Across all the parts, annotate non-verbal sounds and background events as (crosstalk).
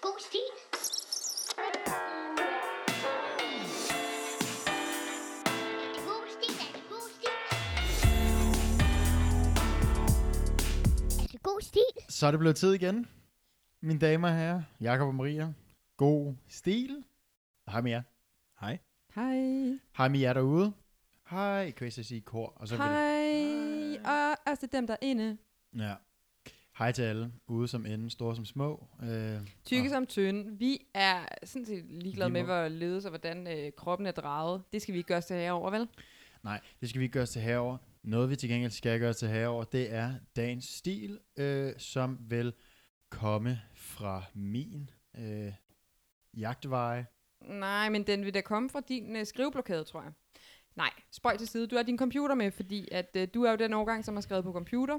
Forty. God stil. Så er det blevet tid igen, mine damer og herrer, Jakob og Maria. God stil. Hej med jer. Hej. Hej. Hej med jer derude. Hej, kan I så sige kor? Og så vil- Hej. Og også til dem, der er inde. Ja. Hej til alle, ude som ende, store som små. Øh, Tykke og- som tynde. Vi er sådan set ligeglade Lige med, måde. hvorledes og hvordan øh, kroppen er drejet. Det skal vi ikke gøre os til herover, vel? Nej, det skal vi ikke gøre os til herover. Noget vi til gengæld skal gøre os til herover, det er dagens stil, øh, som vil komme fra min øh, jagtveje. Nej, men den vil da komme fra din øh, skriveblokade, tror jeg. Nej, spøj til side. Du har din computer med, fordi at, øh, du er jo den årgang, som har skrevet på computer.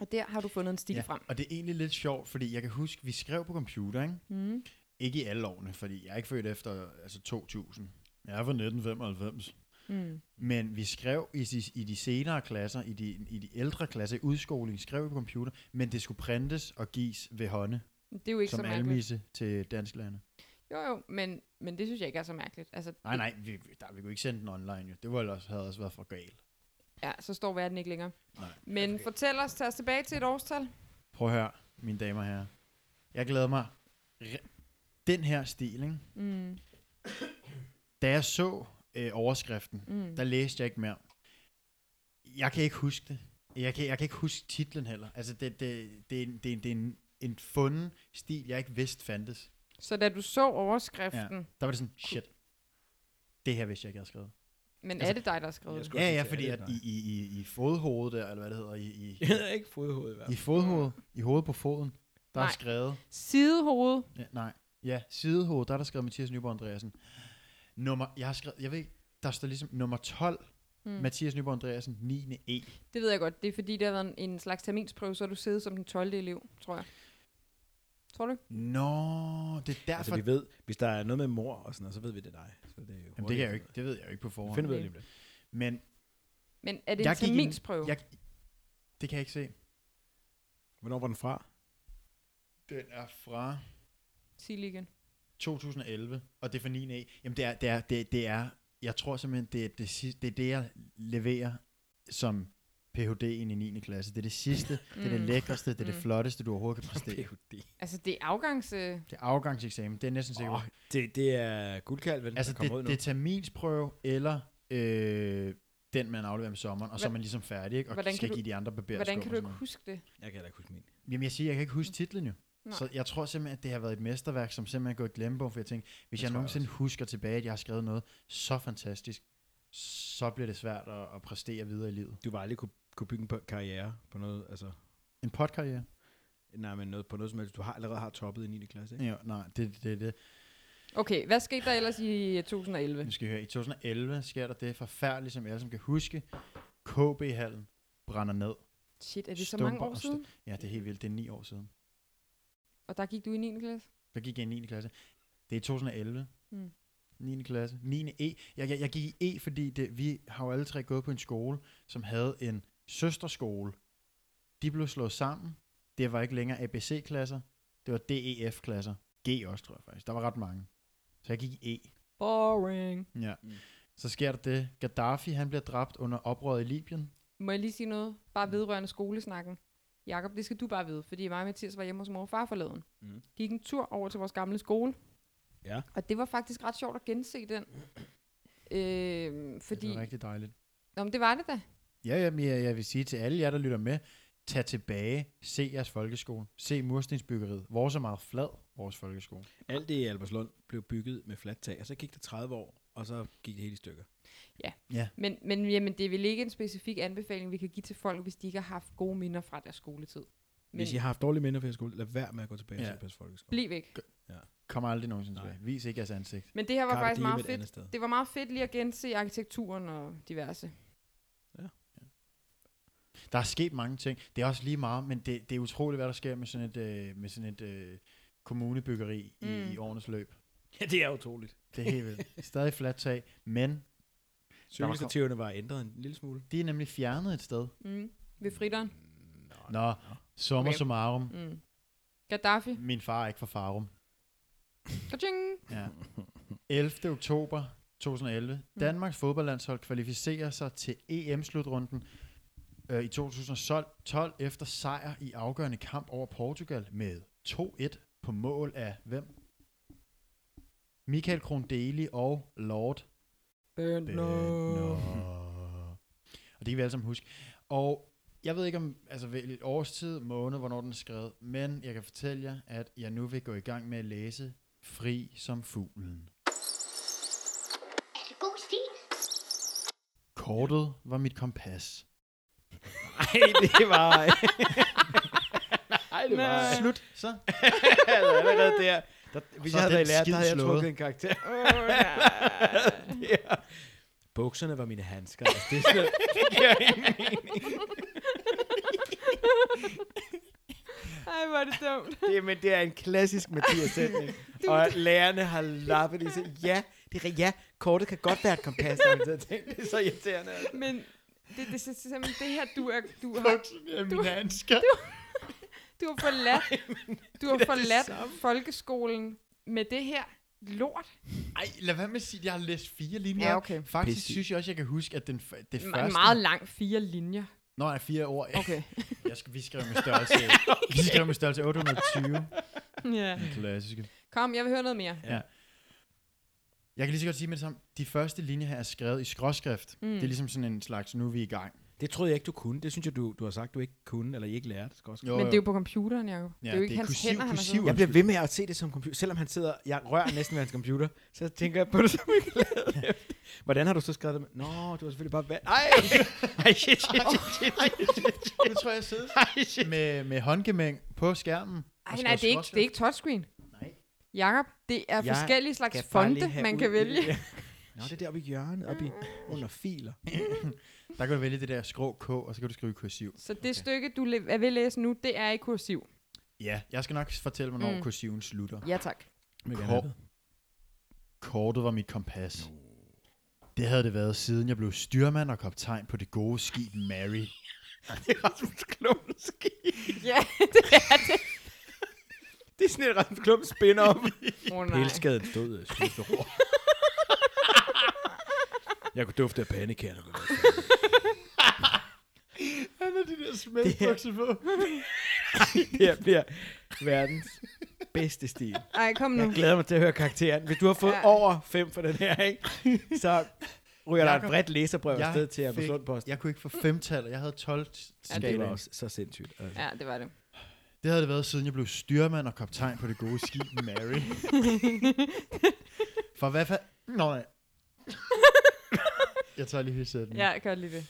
Og der har du fundet en stil ja. frem. og det er egentlig lidt sjovt, fordi jeg kan huske, vi skrev på computer, ikke? Mm. Ikke i alle årene, fordi jeg er ikke født efter altså 2000. Jeg er fra 1995. Mm. Men vi skrev i, de- i de senere klasser, i de, i de ældre klasser, i udskoling, skrev vi på computer, men det skulle printes og gives ved hånde, Det er jo ikke som så mærkeligt. almisse til dansklærerne. Jo, jo, men, men det synes jeg ikke er så mærkeligt. Altså, Nej, nej, vi, vi- der, vi kunne ikke sende den online, jo. Det var ellers, havde også været for galt. Ja, så står verden ikke længere. Nej. Men Okay. fortæl os, tag os tilbage til et årstal. Prøv at høre, mine damer og herrer. Jeg glæder mig. ri- Den her stil, ikke? Mm. Da jeg så øh, overskriften, Mm. der læste jeg ikke mere. Jeg kan ikke huske det. Jeg kan, jeg kan ikke huske titlen heller. Altså, det, det, det, er en- det, er en- det er en, en funden stil, jeg ikke vidste fandtes. Så da du så overskriften, ja. Der var det sådan, shit, det her vidste jeg ikke, jeg havde skrevet. men altså, Altså, er det dig, der har skrevet jeg det? skulle- Ja, også ja, sige, fordi er at det i, i, i, i fodhovedet der, eller hvad det hedder, i, (laughs) i, Jeg hedder ikke fodhoved i hvert i fald. fodhovedet, i hovedet på foden, der er Nej. skrevet, Sidehoved. ja, nej, ja, sidehovedet, der er der skrevet Mathias Nyborg Andreasen. Nummer, jeg har skrevet, jeg ved ikke, der står ligesom nummer 12, mm. Mathias Nyborg Andreasen, 9. E. Det ved jeg godt. Det er fordi, der har været en, en slags terminsprøve, så har du siddet som den 12. elev, tror jeg. Tror du? ikke? Nå, det er derfor, Altså, vi ved, hvis der er noget med mor og sådan noget, så ved vi, det er dig. Så det, er jo Jamen, det, kan jeg jo ikke, det ved jeg jo ikke på forhånd. Finder vi ud Nej. af lige om lidt. Men Men er det Jeg en gik en- terminsprøve? jeg, det kan jeg ikke se. Hvornår var den fra? Den er fra Sig lige igen. 2011, og det er fra E. 9. A. Jamen, det er, det er, det, det er jeg tror simpelthen, det er det, sidste, det er det, jeg leverer som Ph.D. ind i 9. klasse. Det er det sidste, det er det Mm. lækreste, det er det Mm. flotteste, du overhovedet kan præstere. PhD. Altså, det er afgangs... Øh, Det er afgangseksamen, det er næsten sikkert. Åh, det, det er guldkalv, vel, altså, der kommer ud det, nu. det er terminsprøve, eller øh, den, man afleverer om sommeren, og så er Hva- man ligesom færdig, ikke? og Hvordan kan skal du- give de andre barberer hvordan kan du ikke huske det? Jeg kan heller ikke huske min. Jamen jeg siger, jeg kan ikke huske titlen jo. Nej. Så jeg tror simpelthen, at det har været et mesterværk, som simpelthen er gået i glemmebogen, for jeg tænkte, hvis Det jeg, tror jeg nogensinde husker tilbage, at jeg har skrevet noget så fantastisk, så bliver det svært at, at præstere videre i livet. Du var aldrig kunne, kunne bygge en på- karriere på noget, altså, En podkarriere? nej, men noget, på noget som helst. Du har allerede har toppet i 9. klasse, ikke? Ja, nej, det er det, det, det. Okay, hvad skete der ellers i øh, 2011? Nu skal I høre, i 2011 sker der det forfærdelige, som alle som kan huske. KB-hallen brænder ned. Shit, er det så Stumper mange år og stu- siden? Ja, det er helt vildt. Det er ni år siden. Og der gik du i 9. klasse? Der gik jeg i 9. klasse. Det er 2011. Mm. 9. klasse. 9. E. Jeg, jeg, jeg gik i E, fordi det, vi har jo alle tre gået på en skole, som havde en søsterskole. De blev slået sammen. Det var ikke længere ABC-klasser. Det var DEF-klasser. G også, tror jeg faktisk. Der var ret mange. Så jeg gik i E. Boring. Ja. Mm. Mm. Så sker der det. Gaddafi, han bliver dræbt under oprøret i Libyen. Må jeg lige sige noget? Bare vedrørende skolesnakken. Jakob, det skal du bare vide, fordi mig og Mathias var hjemme hos mor og far forleden. Mhm. Gik en tur over til vores gamle skole. Ja. Og det var faktisk ret sjovt at gense den. Øh, fordi... Det Det var var, rigtig dejligt. Nå, men det var det da. Ja, jamen, jeg, jeg vil sige til alle jer, der lytter med, tag tilbage, se jeres folkeskole, se murstensbyggeriet. Vores er meget flad, vores folkeskole. Alt det i Albertslund blev bygget med fladt tag, og så gik det 30 år, og så gik det hele i stykker. Men, men jamen, det er vel ikke en specifik anbefaling, vi kan give til folk, hvis de ikke har haft gode minder fra deres skoletid. Men Hvis I har haft dårlige minder fra jeres skole, lad være med at gå tilbage Ja. og se på jeres folkeskole. bliv væk. Kommer aldrig nogensinde Nej. tilbage. Vis ikke jeres ansigt. Men det her var Carpe faktisk diem meget et andet fedt. sted. Det var meget fedt lige at gense arkitekturen og diverse. Der er sket mange ting. Det er også lige meget, men det, det er utroligt, hvad der sker med sådan et, øh, med sådan et øh, kommunebyggeri mm. i, Mm. i årenes løb. Ja, det er utroligt. Det er helt vildt. Stadig fladt tag, men Cykelstativerne var ændret en lille smule. de er nemlig fjernet et sted. Mm. Ved fritteren. Nå, summer Okay. summarum. Mm. Gaddafi. Min far er ikke fra Farum. Ka-ching! Ja. 11. oktober 2011. Danmarks fodboldlandshold kvalificerer sig til EM-slutrunden øh, i 2012 efter sejr i afgørende kamp over Portugal med 2-1 på mål af hvem? Michael Krondeli og Lord (laughs) Bendtner. Benno. Og det kan vi alle sammen huske. Og jeg ved ikke om, altså vel- årstid, måned, hvornår den er skrevet, men jeg kan fortælle jer, at jeg nu vil gå i gang med at læse Fri som fuglen. Er det god stil? Kortet var mit kompas. Nej, det var... Nej, det var... (laughs) Nej. Slut, så. Altså, allerede der, der hvis Så jeg er havde den været lærer, der skid havde jeg slået. trukket en (laughs) karakter. Åh, ja. ja. Bukserne var mine handsker. Altså, det er sådan noget, (laughs) det giver ingen mening. Ej, hvor er det dumt. (laughs) Det, er- men det er en klassisk Mathias sætning. og lærerne har lappet i sig. Ja, det er, ri- ja, kortet kan godt være et kompas. har man så tænkt. Det er så irriterende. altså. Men det, det, det, det, det her, du, er, du, har, Min handsker. du har forladt, du har det forladt samme. folkeskolen med det her lort. Ej, lad være med at sige, at jeg har læst fire linjer. Ja, okay. Faktisk Pisse. synes jeg også, jeg kan huske, at den, f- det Me- første... meget lang fire linjer. Nå, nej, fire ord. (laughs) Okay. Jeg skal, vi skrev med (laughs) størrelse... Vi skrev med størrelse 820. ja. Den klassiske. Kom, jeg vil høre noget mere. Jeg kan lige så godt sige med det samme. De første linjer her er skrevet i skråskrift. Mm. Det er ligesom sådan en slags, nu er vi i gang. Det troede jeg ikke, du kunne. Det synes jeg, du, du har sagt, du ikke kunne, eller I ikke lærte. Skal også. Jo, Men det er jo på computeren, Jacob. det er jo ikke det er hans kursiv- hænder, han har kursiv- siddet- Jeg bliver ved med at se det som computer. Selvom han sidder, jeg rører næsten ved hans computer, så tænker jeg på det som en (laughs) glæde. Hvordan har du så skrevet det? med- Nå, du har selvfølgelig bare valgt. Ej, ej, shit, shit, shit, shit, shit, shit, Nu tror jeg, jeg (laughs) sidder ej, shit. med, med håndgemæng på skærmen. og Ej, skriver nej, det er ikke, det er skråskrift. ikke touchscreen. Nej. Jakob, det er Jeg forskellige skal slags bare lige fonde, have man ud kan i- vælge. Mm. Nå, det er deroppe i hjørnet, oppe i, under filer. Der kan du vælge det der skrå K, og så kan du skrive kursiv. Så det stykke, du le- er ved at læse nu, det er i kursiv. Ja, jeg skal nok fortælle, hvornår Mm. mm. kursiven slutter. Ja, tak. (laughs) Kor- Kortet var mit kompas. Det havde det været, siden jeg blev styrmand og kaptajn på det gode skib Mary. Det er (laughs) Rasmus Klumps Ja, det er det. Det er sådan et Rasmus Klumps spin-off. Oh, nej. Pelskaden stod og slugte hår. Jeg kunne dufte af pandekærne. Han har de der smælbukser på. (laughs) Det her bliver verdens bedste stil. Ej, kom nu. Jeg glæder mig til at høre karakteren. Hvis du har fået Mm. Ja. over fem for den her, ikke? så ryger der et Jakob, bredt læserbrev afsted til fik- Abelslund Post. Jeg kunne ikke få femtal, og jeg havde 12 Ja, det var skalaen. også så sindssygt. Altså. Ja, det var det. Det havde det været, siden jeg blev styrmand og kaptajn på det gode skib (laughs) Mary. For hvad fanden... Nå, (laughs) nej. Jeg tager lige headsetet. Ja, jeg kan godt lide det.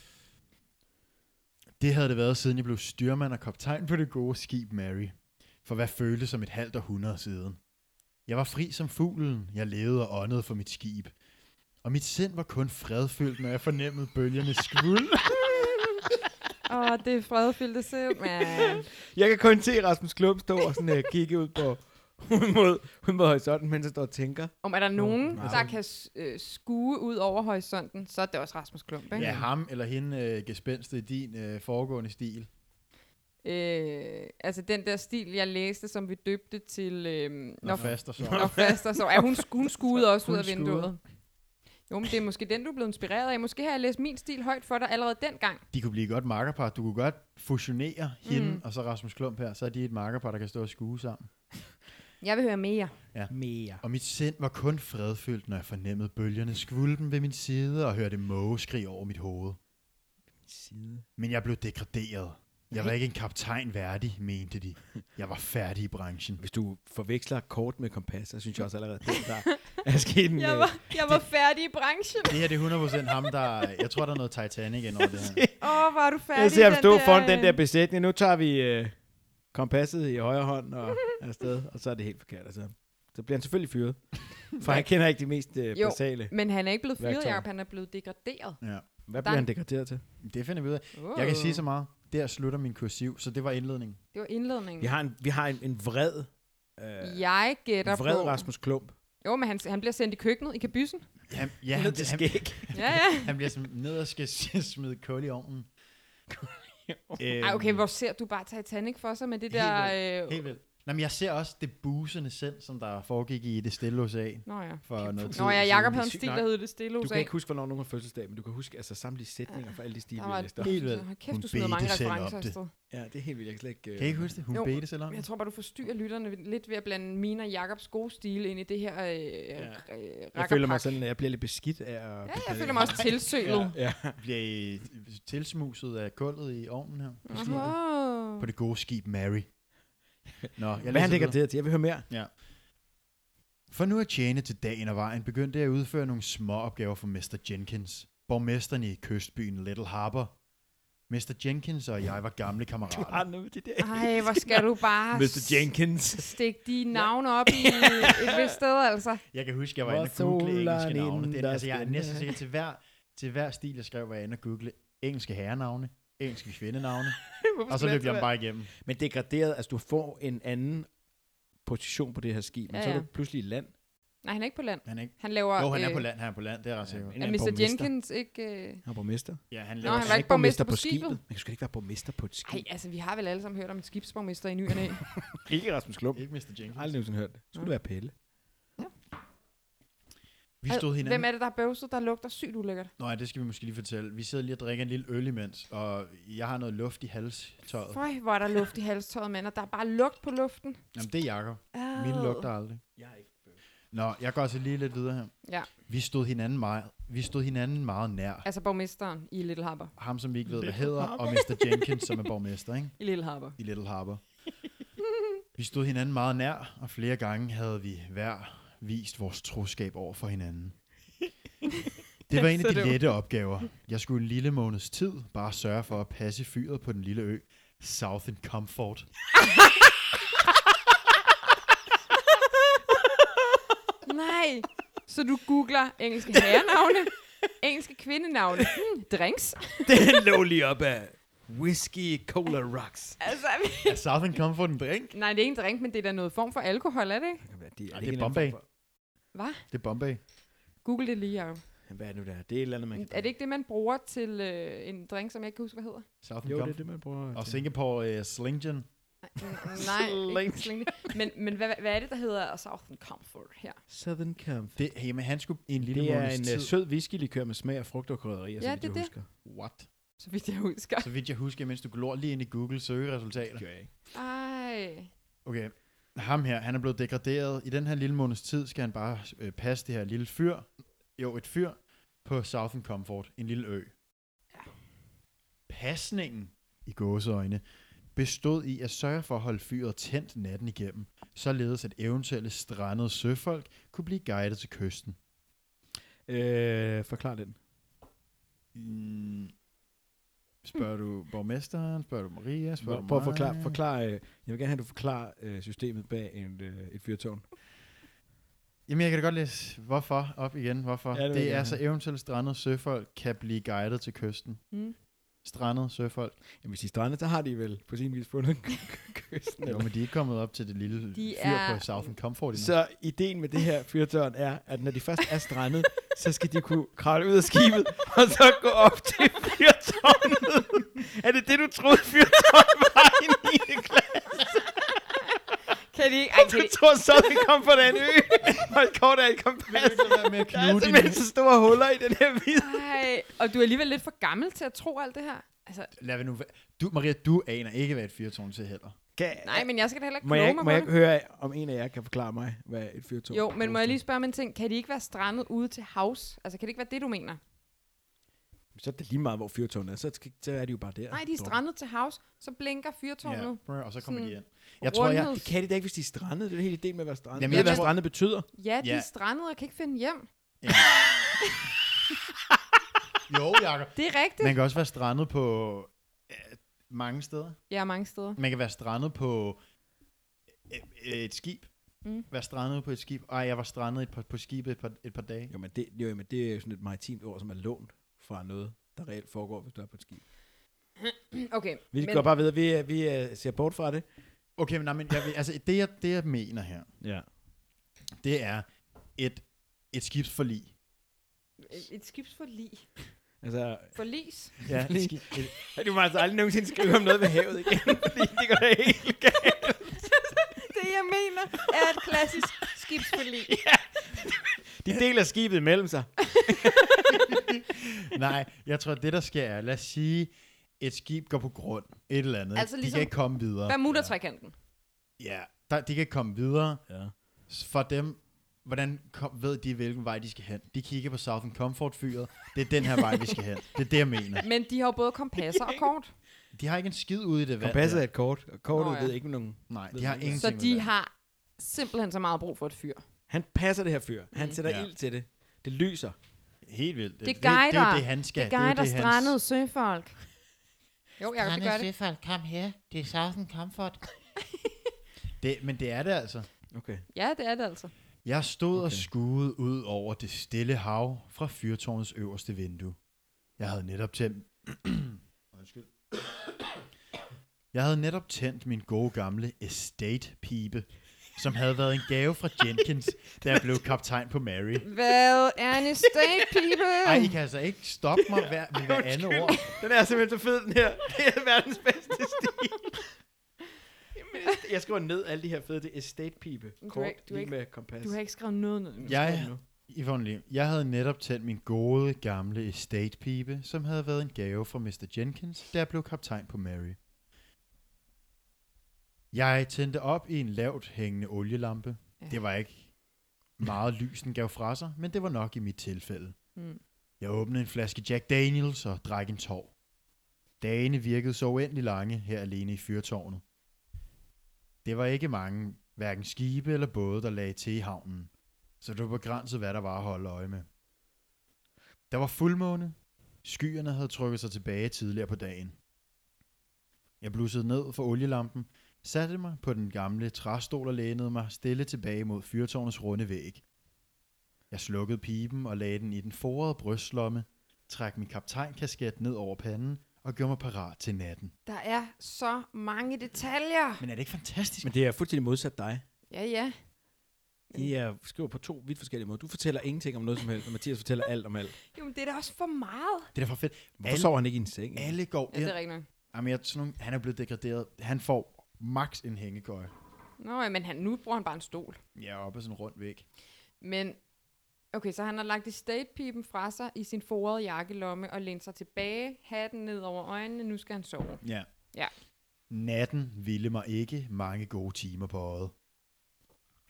Det havde det været, siden jeg blev styrmand og kaptajn på det gode skib Mary. For hvad følte som et halvt århundrede siden? Jeg var fri som fuglen, jeg levede og åndede for mit skib. Og mit sind var kun fredfyldt, når jeg fornemmede bølgernes skvuld. Åh, det er fredfyldte (laughs) sind, man. Jeg kan kun se Rasmus Klump stå og sådan, uh, kigge ud på (laughs) ud mod, ud mod horisonten, mens han står og tænker. Om er der nogen, nej. der kan s- øh, skue ud over horisonten, så er det også Rasmus Klump, ikke? ja, ham eller hende øh, gespenste i din øh, foregående stil. Øh, altså den der stil, jeg læste, som vi døbte til... Øh, Når fast og når så. faster så er hun, hun skuede også ud Hun af vinduet. Jo, men det er måske den, du er blevet inspireret af. Måske har jeg læst min stil højt for dig allerede dengang. De kunne blive et godt makkerpar. Du kunne godt fusionere hende Mm. og så Rasmus Klump her. Så er de et makkerpar, der kan stå og skue sammen. Jeg vil høre mere. Mere. Og mit sind var kun fredfyldt, når jeg fornemmede bølgerne skvulpen ved min side og hørte mågeskrig over mit hoved. Side. Men jeg blev degraderet. Jeg var ikke en kaptajn værdig, mente de. Jeg var færdig i branchen. Hvis du forveksler kort med kompas, så synes jeg også allerede, det der (laughs) er sket en... øh, Jeg var, jeg var færdig i branchen. Det her det er 100% ham, der... Jeg tror, der er noget Titanic ind over det her. Åh, oh, var du øh, færdig jeg ser ham i stå foran den øh, der besætning. Nu tager vi øh, kompasset i højre hånd og (laughs) er afsted, og så er det helt forkert. Altså. Så bliver han selvfølgelig fyret. For han kender ikke de mest øh, Jo. basale. Men han er ikke blevet fyret, Værktøj. Jacob. Han er blevet degraderet. Ja. Hvad Der- bliver han degraderet til? (laughs) Det finder vi ud af. Oh. Jeg kan sige så meget. Der slutter min kursiv, så det var indledningen. Det var indledningen. Vi har en, vi har en, en vred, øh, Jeg gætter vred på... Rasmus Klump. Jo, men han, han bliver sendt i køkkenet i kabyssen. Han, (laughs) ja, han, det han, (laughs) skæg. Ja, ja. han bliver som ned og skal (laughs) s- smide kul i ovnen. Kul i ovnen. Øh, Ej, okay, hvor ser du bare Titanic for sig med det Helt der... Øh, Helt vildt. Nå, men jeg ser også det busende sind, som der foregik i det stille ocean Nå ja. for noget tid Nå ja, siden. Jacob det er havde en sygt stil, nok. der hed det stille Du kan USA. ikke huske, hvornår nogen har fødselsdag, men du kan huske altså, samtlige sætninger fra alle Der de stige, var vi et læste op. Helt vildt. Hold Hun kæft, du smider bedte mange selv om referencer det. afsted. Ja, det er helt vildt. Jeg kan slet ikke... øh, Kan I ikke huske det? Hun Jo, bedte selv om Men Jeg det. tror bare, du forstyrrer lytterne lidt ved at blande min og Jakobs gode stil ind i det her øh, ja. Jeg føler mig sådan, at jeg bliver lidt beskidt af at... Ja, jeg føler mig også tilsølet. Ja, ja. Bliver I tilsmuset af kullet i ovnen her? På, skibet? Aha. på det gode skib (laughs) Mary. Nå, jeg Hvad han læser ligger videre. det til? Jeg vil høre mere. For nu at tjene til dagen og vejen, begyndte jeg at udføre nogle små opgaver for Mr. Jenkins, borgmesteren i kystbyen Little Harbor. Mr. Jenkins og jeg var (laughs) gamle Du har kammerater. noget med det der. Ej, hvor skal du bare Mr. Jenkins. stikke de navne op i et vist sted, altså. Jeg kan huske, jeg var inde og Hvor google engelske solen navne. Det, inden er- altså, jeg er der næsten skinner. (laughs) sikker til hver, til hver stil, jeg skrev, var jeg inde og google engelske herrenavne, engelske kvindenavne, (laughs) Hvorfor og så skal løb jeg dem altid bare igennem. være- Men degraderet, altså du får en anden position på det her skib, men Ja, så er ja. du pludselig i land. Nej, han er ikke på land. Han er ikke... Han laver... Jo, han er øh, på land, han er på land, det er jeg ret sikkert. men- Er Han er Mr. borgmester. Jenkins ikke... Øh... Han er borgmester. Ja, han Nå, laver... han var ikke borgmester på skibet. Man kan sgu da ikke være borgmester på et skib. Ej, altså, vi har vel alle sammen hørt om en skibsborgmester i ny og (laughs) næ. Ikke Rasmus Klump. Ikke Mr. Jeg har Jenkins. aldrig nogensinde hørt det. Skulle Mm. det være Pelle? Vi stod hinanden... Hvem er det, der har bøvset, der lugter sygt ulækkert? Nå ja, det skal vi måske lige fortælle. Vi sidder lige og drikker en lille øl imens, og jeg har noget luft i halstøjet. Føj, hvor er der luft i halstøjet, mand, og der er bare lugt på luften. Jamen, det er Jacob. Oh. Min lugter aldrig. Jeg er ikke bøvlet. Nå, jeg går altså lige lidt videre her. Ja. Vi stod hinanden meget, vi stod hinanden meget nær. Altså borgmesteren i Little Harbor. Ham, som vi ikke ved, hvad Little hedder, Harbor. og Mr. Jenkins, som er borgmester, ikke? I Little Harbor. I Little Harbor. Vi stod hinanden meget nær, og flere gange havde vi hver vist vores troskab over for hinanden. Det var en af de lette opgaver. Jeg skulle en lille måneds tid bare sørge for at passe fyret på den lille ø, Southern Comfort. Nej, så du googler engelske (laughs) herrenavne, engelske kvindenavne, hmm, drinks. (laughs) Den lå lige op af Whiskey Cola Rocks. Altså, Er Southern Comfort en drink? nej, det er ikke en drink, men det er da noget form for alkohol, er det ikke? Det det er Bombay. Hvad? Det er Bombay. Google det lige, Jacob. Hvad er det nu der? er? Det er et eller andet, man kan Mm, Er det ikke det, man bruger til øh, en drink, som jeg ikke kan huske, hvad hedder? Southern Jo, det Comfort. er det, man bruger. Og til- Singapore uh, Slington. Nej, n- nej ikke slinge. Men, men hvad, hvad er det, der hedder Southern Comfort her? Southern Camp. Det, jamen, han skulle en lille Det er måneds en tid. uh, sød whisky-likør med smag af frugt og krydderier, Ja, så vidt det jeg er det. husker. What? Så vidt jeg husker. Så vidt jeg husker, mens du glor lige ind i Google søgeresultater. gjorde jeg ikke. Ej. Okay, ham her, han er blevet degraderet. I den her lille måneds tid skal han bare øh, passe det her lille fyr. Jo, et fyr på Southern Comfort, en lille ø. Ja. Pasningen, i gåseøjne, bestod i at sørge for at holde fyret tændt natten igennem, således at eventuelle strandede søfolk kunne blive guidet til kysten. Øh, forklar den. Mm. Spørger du borgmesteren? Spørger du Maria? Spørger Prøv, du prøv at mig? forklare. forklare øh, jeg vil gerne have, at du forklarer øh, systemet bag en, øh, et fyrtårn. Jamen, jeg kan da godt læse, hvorfor op igen, hvorfor. Ja, det Ja, vil det, jeg det gerne er så eventuelt strandede søfolk kan blive guidet til kysten. Mm. Strandede søfolk. Jamen, hvis de strander, så har de vel på sin vis fundet (laughs) kysten. Jo, eller? men de er ikke kommet op til det lille De de fyr er- er... på Southern Comfort endnu. Så ideen med det her fyrtårn er, at når de først er strandet, så skal de kunne kravle ud af skibet, og så gå op til fyrtårnet. (laughs) er det det, du troede, fyrtårn var i 9. klasse? Kan de ikke? Ej, kan Du de, tror så, vi kom på den ø, og et kort af et kompas. med (laughs) at Der er knude din... simpelthen så store huller i den her vis. ej. Og du er alligevel lidt for gammel til at tro alt det her. Altså, Lad nu... væ- Du, Maria, du aner ikke, hvad et fyrtårn til heller. nej, men jeg skal da heller ikke Må jeg, kloge mig ikke, må på jeg det. ikke høre, om en af jer kan forklare mig, hvad et fyrtårn Jo, men må jeg lige spørge om en ting? Kan de ikke være strandet ude til havs? Altså, kan det ikke være det, du mener? Så er det lige meget, hvor fyrtårnet er. Så, skal- så er de jo bare der. Nej, de er strandet til havs, så blinker fyrtårnet. Ja, og så kommer Sådan de ind. Jeg tror, jeg... Rundhed. Det kan de da ikke, hvis de er strandet. Det er jo hele ideen med at være strandet. Jamen, Jamen, jeg jeg ved, hvad tror- strandet betyder. Ja, de Ja. er strandet og kan ikke finde hjem. Jo, Jacob. Det er rigtigt. Man kan også være strandet på øh, mange steder. Ja, mange steder. Man kan være strandet på øh, øh, et skib. Mm. Mm. Være strandet på et skib. Ej, jeg var strandet et par, på skibet et par, et par dage. Jo, men det, jo, men det er jo sådan et maritimt ord, som er lånt fra noget, der reelt foregår, hvis du er på et skib. Okay, Vi men går bare videre. Vi, øh, vi øh, ser bort fra det. Okay, men, nej, men jeg, vil- altså, det, jeg, det, jeg mener her, Ja. det er et, et (laughs) skibsforlig. et- et skibsforlig. Altså, Forlis. Ja, et et (laughs) skib, et, du må altså aldrig nogensinde skrive om noget ved havet igen, fordi det går da helt galt. Det jeg mener er et klassisk skibsforlig. De deler skibet imellem sig. Nej, jeg tror, det der sker er, lad os sige, et skib går på grund, et eller andet. ikke? Altså de ligesom- kan ikke komme videre. Bermuda-trekanten. Ja, der, de kan ikke komme videre. Ja. S- For dem, hvordan kom, ved de, hvilken vej de skal hen? De kigger på Southern Comfort-fyret. Det er den her vej, vi skal hen. Det er det, jeg mener. Men de har jo både kompasser og kort. De har ikke en skid ude i det vand. Kompasset der. er et kort, og kortet Nå, Nå, ja. ved ikke nogen. Nej, Ved de har ikke. ingenting Så med de vand. har simpelthen så meget brug for et fyr. Han passer det her fyr. Han Mm. sætter Ja. ild til det. Det lyser. Helt vildt. Det det, det, det er guider. jo det, han skal. Det er jo guider hans- strandede søfolk. Jo, jeg er kan gøre det. Søfald, kom her. Det er Southern Comfort. Det, men det er det altså. Okay. Ja, det er det altså. Jeg stod okay. og Okay. skuede ud over det stille hav fra fyrtårnets øverste vindue. Jeg havde netop tændt... (clears throat) Undskyld. Jeg havde netop tændt min gode gamle estate-pipe, som havde været en gave fra Jenkins, da jeg blev kaptajn på Mary. Hvad er en estate, people? Ej, I kan altså ikke stoppe mig hver, med hver andet ord. Den er simpelthen så fed, den her. Det er verdens bedste (laughs) stil. Jamen, est- jeg skriver ned alle de her fede. Det er estate pipe. Men du Kort, er ikke- du er lige ikke- med kompas. Du har ikke skrevet noget ned. endnu. Jeg, Yvonne Lim, jeg havde netop tændt min gode, gamle estate-pipe, som havde været en gave fra Mr. Jenkins, da jeg blev kaptajn på Mary. Jeg tændte op i en lavt hængende olielampe. Ja. Ja. Det var ikke meget lys, den gav fra sig, men det var nok i mit tilfælde. Mm. Jeg åbnede en flaske Jack Daniels og drak en tår. Dagene virkede så uendelig lange her alene i fyrtårnet. Det var ikke mange, hverken skibe eller både, der lagde til i havnen, så det var begrænset, hvad der var at holde øje med. Der var fuldmåne. Skyerne havde trukket sig tilbage tidligere på dagen. Jeg blussede ned for olielampen, satte mig på den gamle træstol og lænede mig stille tilbage mod fyrtårnets runde væg. Jeg slukkede pipen og lagde den i den forrede brystlomme, trak min kaptajnkasket ned over panden og gjorde mig parat til natten. Der er så mange detaljer. Men er det ikke fantastisk? Men det er fuldstændig modsat dig. Ja, ja. I er, skriver på to vidt forskellige måder. Du fortæller ingenting om noget som helst, og Mathias (laughs) fortæller alt om alt. Jo, men det er da også for meget. Det er da for fedt. Hvorfor Alle, sover han ikke i en seng? egentlig? alle går Mm. Ja, ind. det er rigtigt. nok. Jamen, jeg, sådan nogle, han er blevet degraderet. Han får max en hængekøje. Nå, ja, men han, nu bruger han bare en stol. Ja, op ad sådan en rund væg. Men, okay, så han har lagt estatepipen fra sig i sin forrede jakkelomme og lænet sig tilbage, hatten ned over øjnene, nu skal han sove. Ja. Ja. Natten ville mig ikke mange gode timer på øjet.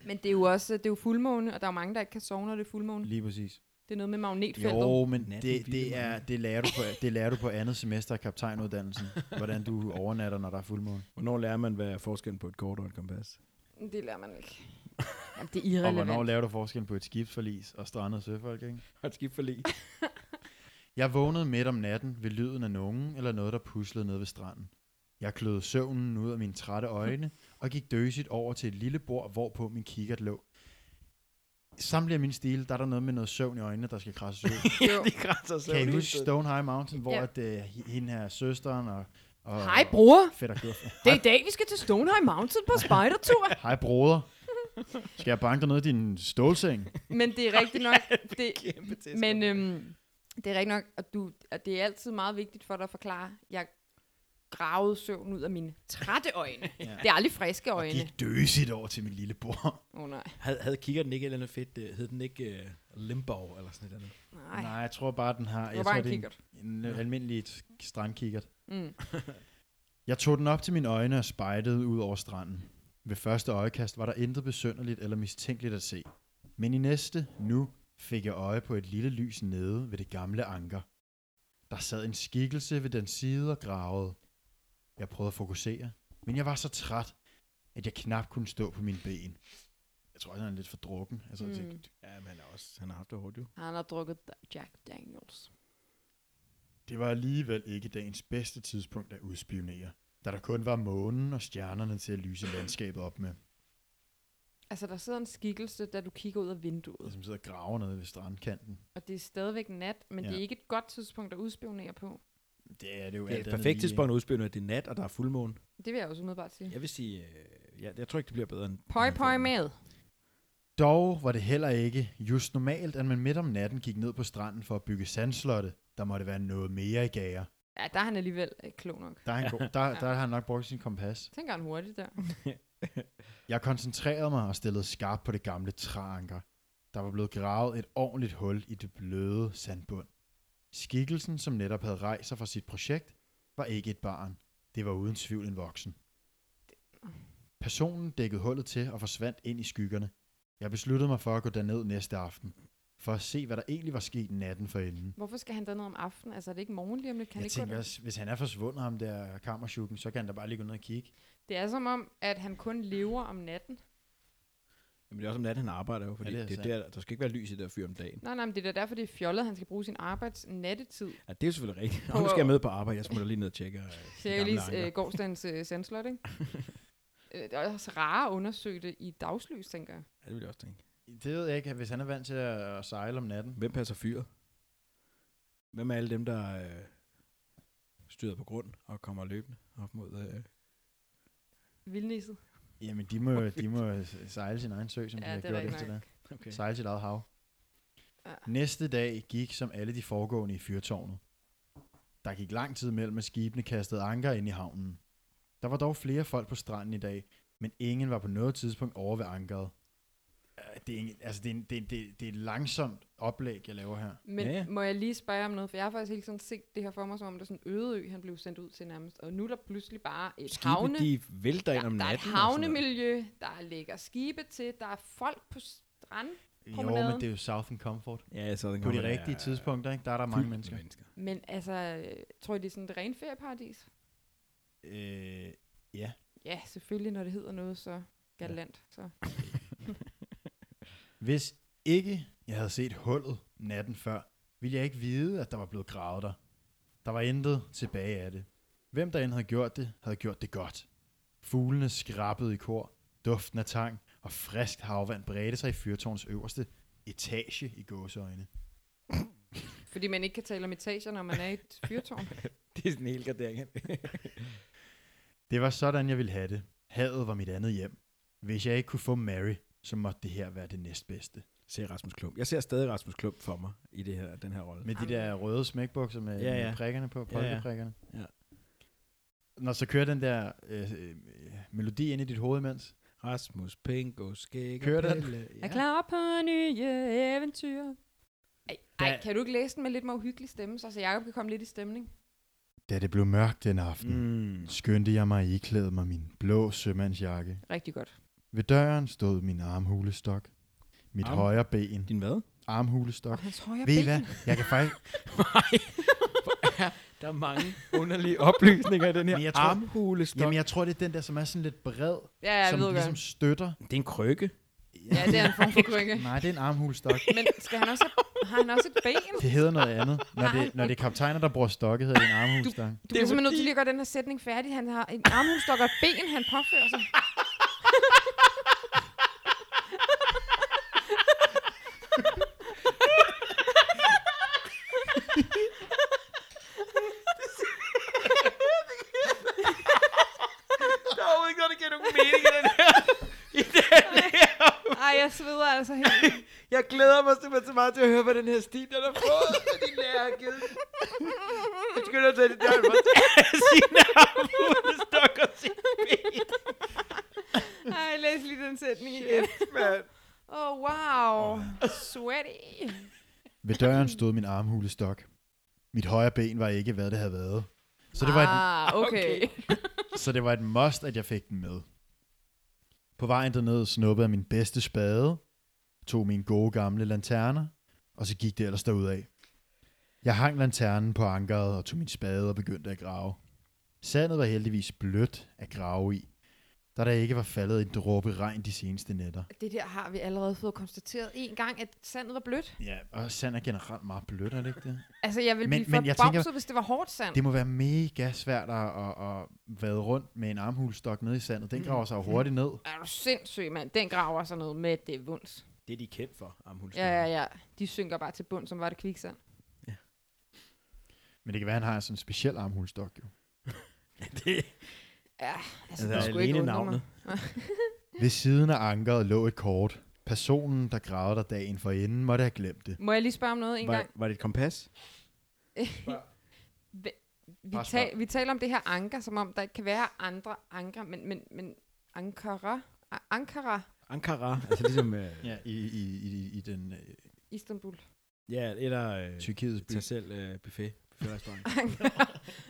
Mm. Men det er jo også det er jo fuldmåne, og der er jo mange, der ikke kan sove, når det er fuldmåne. Lige præcis. Det er noget med magnetfeltet. Jo, men Natten det, ville det, er, det, lærer du på, det lærer du på andet semester af (laughs) kaptajnuddannelsen. hvordan du overnatter, når der er fuldmåne. Hvornår lærer man, hvad er forskellen på et kort og et kompas? Det lærer man ikke. Jamen, det er Og hvornår irrelevant. laver du forskel på et skibsforlis og strandede søfolk, ikke? Og et skib (laughs) forlig. Jeg vågnede midt om natten ved lyden af nogen eller noget, der puslede ned ved stranden. Jeg kløede søvnen ud af mine trætte øjne og gik døsigt over til et lille bord, hvorpå min kikkert lå. Samtlige min stil, der er der noget med noget søvn i øjnene, der skal krasses ud. Jo. De krasser sig. kan I huske Stonehenge Mountain, hvor Ja. ja. at, uh, hende her søsteren og... og Hej, bror. Fedt og guf. Det er i dag, vi skal til Stonehenge Mountain på spejdertur. Hej, broder. Skal jeg banke dig ned i din stålseng? Men det er rigtigt nok. Det, Kæmpe tæsk. men øhm, det er rigtigt nok, at, du, at det er altid meget vigtigt for dig at forklare, jeg gravede søvn ud af mine trætte øjne. ja. Det er aldrig friske Og øjne. gik døsigt over til min lille bord. Åh oh, nej. Havde, havde kigger den ikke et eller andet fedt? øh, Hed den ikke uh, Limbo eller sådan et eller andet? Nej. Nej, jeg tror bare, den har... Det Jeg var tror, bare en det er en, kikkert. en almindelig strandkikkert. Mm. (laughs) Jeg tog den op til mine øjne og spejdede ud over stranden. Ved første øjekast var der intet besønderligt eller mistænkeligt at se. Men i næste, nu, fik jeg øje på et lille lys nede ved det gamle anker. Der sad en skikkelse ved den side og gravede. Jeg prøvede at fokusere, men jeg var så træt, at jeg knap kunne stå på mine ben. Jeg tror, jeg er lidt for drukken. Altså, mm. jeg Mm. tænkte, Ja, men han, er også, han har haft det hårdt jo. Han har drukket Jack Daniels. det var alligevel ikke dagens bedste tidspunkt at udspionere, da der kun var månen og stjernerne til at lyse landskabet op med. Altså, der sidder en skikkelse, da du kigger ud af der vinduet. som sidder og graver nede ved strandkanten. Og det er stadigvæk nat, men ja. Ja. det er ikke et godt tidspunkt at udspionere på. Det er det jo Det er alt et andet perfekt lige, Mm. tidspunkt at udspille, når det er nat, og der er fuldmåne. Det vil jeg også umiddelbart sige. Jeg vil sige, øh, ja, jeg tror ikke, det bliver bedre end... Pøj, end pøj formen. med. ikke? Dog var det heller ikke just normalt, at man midt om natten gik ned på stranden for at bygge sandslotte. Der måtte være noget mere i gager. Ja, der er han alligevel øh, klog nok. (laughs) Der, er han god, der, der har han nok brugt sin kompas. (laughs) Tænker han hurtigt der. Jeg koncentrerede mig og stillede skarpt på det gamle træanker. Der var blevet gravet et ordentligt hul i det bløde sandbund. Skikkelsen, som netop havde rejst sig fra sit projekt, var ikke et barn. Det var uden tvivl en voksen. Personen dækkede hullet til og forsvandt ind i skyggerne. Jeg besluttede mig for at gå derned næste aften, for at se, hvad der egentlig var sket natten forinden. Hvorfor skal han derned om aftenen? Altså, er det ikke morgen lige om lidt? Kan Jeg han ikke gå tænker derned? også, hvis han er forsvundet ham der kammersjukken, så kan han da bare lige gå ned og kigge. Det er som om, at han kun lever om natten. Jamen, det er også om natten, han arbejder jo, fordi Ja, ja, det er altså- det, det er der, der skal ikke være lys i det der fyr om dagen. Nej, nej, men det er da derfor, det er fjollet, at han skal bruge sin (laughs) arbejds nattetid. Ja, det er jo selvfølgelig rigtigt. På- Og nu skal jeg med på arbejde, jeg smutter lige ned og tjekker. øh, den gamle Sjælis anker. øh, gårdsdagens øh, sandslot, ikke? (laughs) Øh, det er også rare at undersøge det i dagslys, tænker jeg. Ja, det vil jeg også tænke. Det ved jeg ikke, hvis han er vant til at sejle om natten. Hvem passer fyret? Hvem er alle dem, der øh, styrer på grund og kommer løbende op mod... Øh, Vildnisset. Jamen, de må, de må sejle sin egen sø, som Ja, ja, de har det er gjort rigtigt efter nok. det. okay. Sejle sit eget hav. Ja. Næste dag gik som alle de foregående i fyrtårnet. Der gik lang tid mellem, at skibene kastede anker ind i havnen. Der var dog flere folk på stranden i dag, men ingen var på noget tidspunkt over ved ankeret. Øh, Det er, ingen, altså det, er, en- det, er- det, er- det er et langsomt oplæg, jeg laver her. Men Ja, ja, ja. ja. må jeg lige spørge om noget? For jeg har faktisk hele tiden set det her for mig, som om det er sådan en øde ø, han blev sendt ud til nærmest. Og nu er der pludselig bare et Skibene, havne... de vælter ind der, om der er et natten. altså. og sådan noget. havnemiljø, der ligger skibe til, der er folk på strand. Jo, Promenaden. men det er jo Southern Comfort. Ja, så den På kommer de der rigtige tidspunkter, ikke? der er der fyldt mange med mennesker. mennesker. Men altså, øh, tror I, det er sådan et rent ferieparadis? Øh, ja. Ja, selvfølgelig, når det hedder noget så galant. Så. Hvis ikke jeg havde set hullet natten før, ville jeg ikke vide, at der var blevet gravet der. Der var intet tilbage af det. Hvem der end havde gjort det, havde gjort det godt. Fuglene skrappede i kor, duften af tang og frisk havvand bredte sig i fyrtårns øverste etage i gåseøjne. Fordi man ikke kan tale om etager, når man er i (laughs) et fyrtårn. Det er sådan en hel gardering. Det var sådan, jeg ville have det. Havet var mit andet hjem. Hvis jeg ikke kunne få Mary, så måtte det her være det næstbedste. ser Rasmus Klump. Jeg ser stadig Rasmus Klump for mig i det her, den her rolle. Med de der røde smækbukser med, Ja, ja, ja. ja. med prikkerne på, Ja, ja. polkaprikkerne. Ja. Når så kører den der øh, øh, melodi ind i dit hoved imens. Rasmus Pingo, Skæg og Kører den? Pelle. Jeg er klar på nye eventyr. Ej, ej, Da- kan du ikke læse den med lidt mere uhyggelig stemme, så, så Jacob kan komme lidt i stemning? Da det blev mørkt den aften, Mm. skyndte jeg mig at iklæde mig min blå sømandsjakke. Rigtig godt. Ved døren stod min armhulestok. Mit Arm- Arm. højre ben. Din hvad? Og Armhulestok. hans højre Ved I ben. hvad? Jeg kan faktisk... (laughs) Der er mange underlige (laughs) oplysninger i den her Men jeg jeg tror- armhulestok. Jamen, jeg tror, det er den der, som er sådan lidt bred, Ja, jeg som ved ligesom godt. støtter. Det er en krykke. Ja, det er en (laughs) form for krykke. (laughs) Nej, det er en armhulestok. Men skal han også have, har han også et ben? Det hedder noget andet. Når det, når det er kaptajner, der bruger stokke, hedder det en armhulestok. (laughs) Du er simpelthen nødt til lige at gøre den her sætning færdig. Han har en armhulstok og et ben, han påfører sig. (laughs) Der er overhovedet ikke noget, der giver nogen mening i den her. I den her. Ej, jeg sveder altså helt. Jeg glæder mig simpelthen så meget til at høre, hvad den her stil, den har fået, (laughs) hvad din lærer har givet. Jeg skynder at tage det der, han var sin armhulestok og sin ben. Ej, læs lige den sætning igen. mand. Oh, wow. Sweaty. Ved døren stod min armhulestok. Mit højre ben var ikke, hvad det havde været. Så det, var et, ah, okay. okay. så det var et must, at jeg fik den med. På vejen derned snuppede jeg min bedste spade, tog mine gode gamle lanterner, og så gik det ellers derudad. Jeg hang lanternen på ankeret og tog min spade og begyndte at grave. Sandet var heldigvis blødt at grave i, da der ikke var faldet en dråbe regn de seneste nætter. Det der har vi allerede fået konstateret en gang, at sandet var blødt. Ja, og sand er generelt meget blødt, er det ikke det? Altså, jeg ville Men- men, blive men jeg forbavset, tænker- hvis det var hårdt sand. Det må være mega svært at, at, at vade rundt med en armhulstok nede i sandet. Mm. Den graver sig jo hurtigt ned. Er du sindssyg, mand? Den graver sådan noget med det vunds. Det er de kendt for, armhulestok. Ja, ja, ja. De synker bare til bund, som var det kviksand. Men det kan være, at han har sådan en speciel armhulstok. Jo. (laughs) Det, Ja, altså, Altså, det skulle ikke alene undre navnet. mig. Ved siden af ankeret lå et kort. Personen, der gravede der dagen for inden, måtte have glemt det. Må jeg lige spørge om noget en var, gang? var det et kompas? Vi, Bare ta- vi taler om det her anker, som om der ikke kan være andre anker, men, men, men Ankara. A- Ankara, Ankara, (laughs) altså ligesom... Øh, Ja, i, i, i, i- i den øh, Istanbul. (laughs) ja, eller... Øh, Tyrkiets by. tag selv øh, (laughs) buffet. Buffetrestaurant.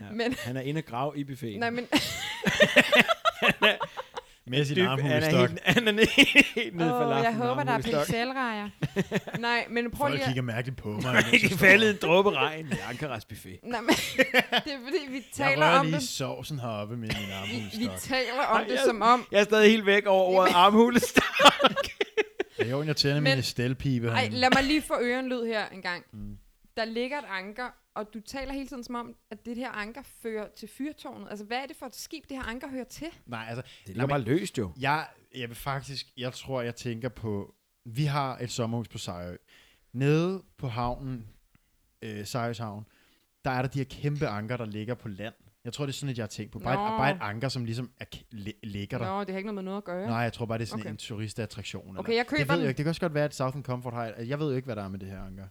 Ja. Men- Han er inde og grav i buffeten. Nej, men Med sin Dyb- armhul han i er stok. helt, han er helt nede for åh, laften. jeg håber, der er (laughs) pinselrejer. Nej, men prøv Folk lige at... kigger mærkeligt på mig. Nej, det er faldet en dråbe regn i Ankaras buffet. Nej, men (laughs) det er fordi, vi Jeg taler rører om lige det. sovsen heroppe med min (laughs) Vi, armhul i vi stok. taler om Ej, det jeg- som om... Jeg er stadig helt væk over ordet armhulestok. Det er jo, jeg tænder Men- mine stelpibe. Ej, herinde. lad mig lige få ørenlyd her en gang. Øhm. Mm. Der ligger et anker, og du taler hele tiden som om, at det her anker fører til fyrtårnet. Altså, hvad er det for et skib, det her anker hører til? Nej, altså, (laughs) Det er bare løst jo. Jeg, jeg vil faktisk, jeg tror, jeg tænker på, vi har et sommerhus på Sejø. Nede på havnen, øh, Sejøs havn, der er der de her kæmpe anker, der ligger på land. Jeg tror, det er sådan, at jeg har tænkt på. Bare, Nå. et, bare et anker, som ligesom er, k- li- ligger der. Nå, det har ikke noget med noget at gøre. Nej, jeg tror bare, det er sådan Okay. okay. en turistattraktion. Okay, jeg køber det ved den. jeg ikke. Det kan også godt være, at Southern Comfort har... et- Jeg ved jo ikke, hvad der er med det her anker. vi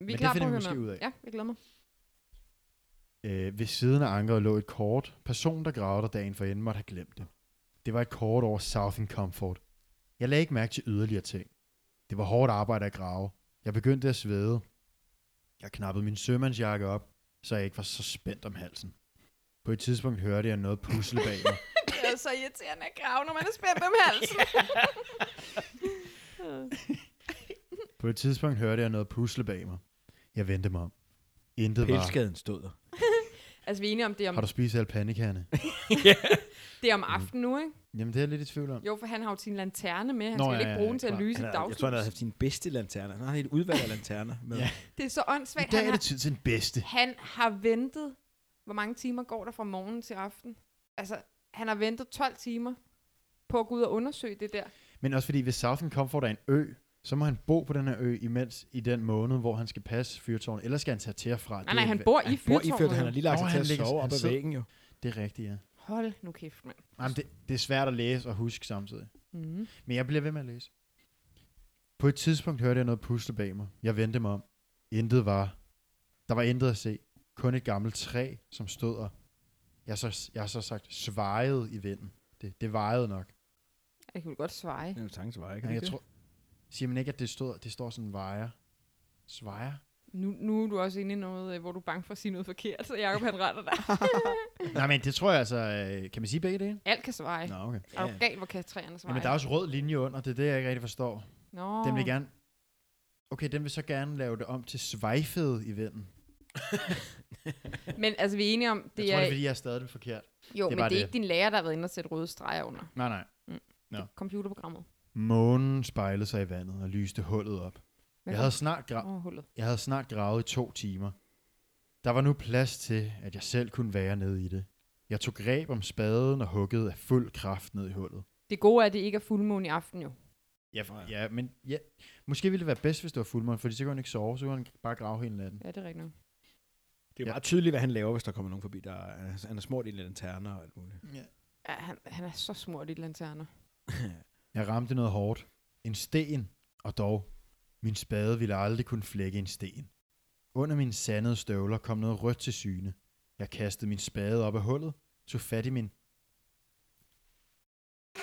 men er det klar på finder vi at høre måske mere. ud af. Ja, jeg glæder (laughs) mig. Øh, ved siden af ankeret lå et kort. Personen, der gravede der dagen for inden, måtte have glemt det. Det var et kort over Southern Comfort. Jeg lagde ikke mærke til yderligere ting. Det var hårdt arbejde at grave. Jeg begyndte at svede. Jeg knappede min sømandsjakke op, så jeg ikke var så spændt om halsen. På et tidspunkt hørte jeg noget pusle bag mig. Det er så irriterende at grave, når man er spændt om (laughs) halsen. På et tidspunkt hørte jeg noget pusle bag mig. Jeg vendte mig om. Intet var. Pelskaden stod der. altså, vi er enige om, det er om, Har du Mhm. spist alle pandekærne? det er om aftenen nu, ikke? Jamen, det er jeg lidt i tvivl om. Jo, for han har jo sin lanterne med. Han Nå, skal ja, ja, ikke ja, bruge ja, den til at klar. lyse Han i er, jeg dagslys. tror, han havde haft sine bedste lanterner. Han har et udvalg af lanterner. Med. Ja. Det er så åndssvagt. I dag han er har- det tid til den bedste. Han har ventet, hvor mange timer går der fra morgen til aften? Altså, han har ventet 12 timer på at gå ud og undersøge det der. Men også fordi, hvis Southern Comfort er en ø, så må han bo på den her ø imens i den måned, hvor han skal passe fyrtårnet. Eller skal han tage til og fra. Nej, nej, han bor i Han bor i fyrtårnet. Han har fyrtårnet. lige lagt Nå, sig til han at ligger- sove han op ad sidder- væggen jo. Det er rigtigt, ja. Hold nu kæft, mand. Jamen, det, det er svært at læse og huske samtidig. Mm. Men jeg bliver ved med at læse. På et tidspunkt hørte jeg noget pusle bag mig. Jeg vendte mig om. Intet var. Der var intet at se. Kun et gammelt træ, som stod og... Jeg har så, jeg har så sagt svejede i vinden. Det, det vejede nok. Jeg kunne godt svare. Det er jo tangens vej, ikke? Ja, jeg tror, siger man ikke, at det, stod, det står sådan vejer? Svejer? Nu, nu er du også inde i noget, øh, hvor du er bange for at sige noget forkert, så Jacob han retter (laughs) dig. Nej, men det tror jeg altså... øh, Kan man sige begge dele? Alt kan svare. Nå, okay. Er du galt, hvor kan træerne svare? Ja, men der er også rød linje under, det er det, jeg ikke rigtig forstår. Nå. Den vil gerne... Okay, den vil så gerne lave det om til svejfede i vinden. Men altså, vi er enige om, Det det jeg tror, er... det er, fordi jeg er stadig det forkert. jo, er men det er bare det. ikke din lærer, der har været inde og sætte røde streger under. Nej, nej. Nå. Det er computerprogrammet. Månen spejlede sig i vandet og lyste hullet op. Hvad Jeg kom- havde, snart gra- Åh, hullet. jeg havde snart gravet i to timer. Der var nu plads til, at jeg selv kunne være nede i det. Jeg tog greb om spaden og huggede af fuld kraft ned i hullet. Det gode er, at det ikke er fuldmåne i aften, jo. Ja, for, ja men ja. måske ville det være bedst, hvis det var fuldmåne, fordi så kunne han ikke sove, så kunne han bare grave hele natten. Ja, det er rigtigt nok. Det er Ja. meget tydeligt, hvad han laver, hvis der kommer nogen forbi. Der er, han er smurt i lanterner og alt muligt. Ja, han, han er så smurt i lanterner. Jeg ramte noget hårdt. En sten, og dog. Min spade ville aldrig kunne flække en sten. Under mine sandede støvler kom noget rødt til syne. Jeg kastede min spade op af hullet, tog fat i min...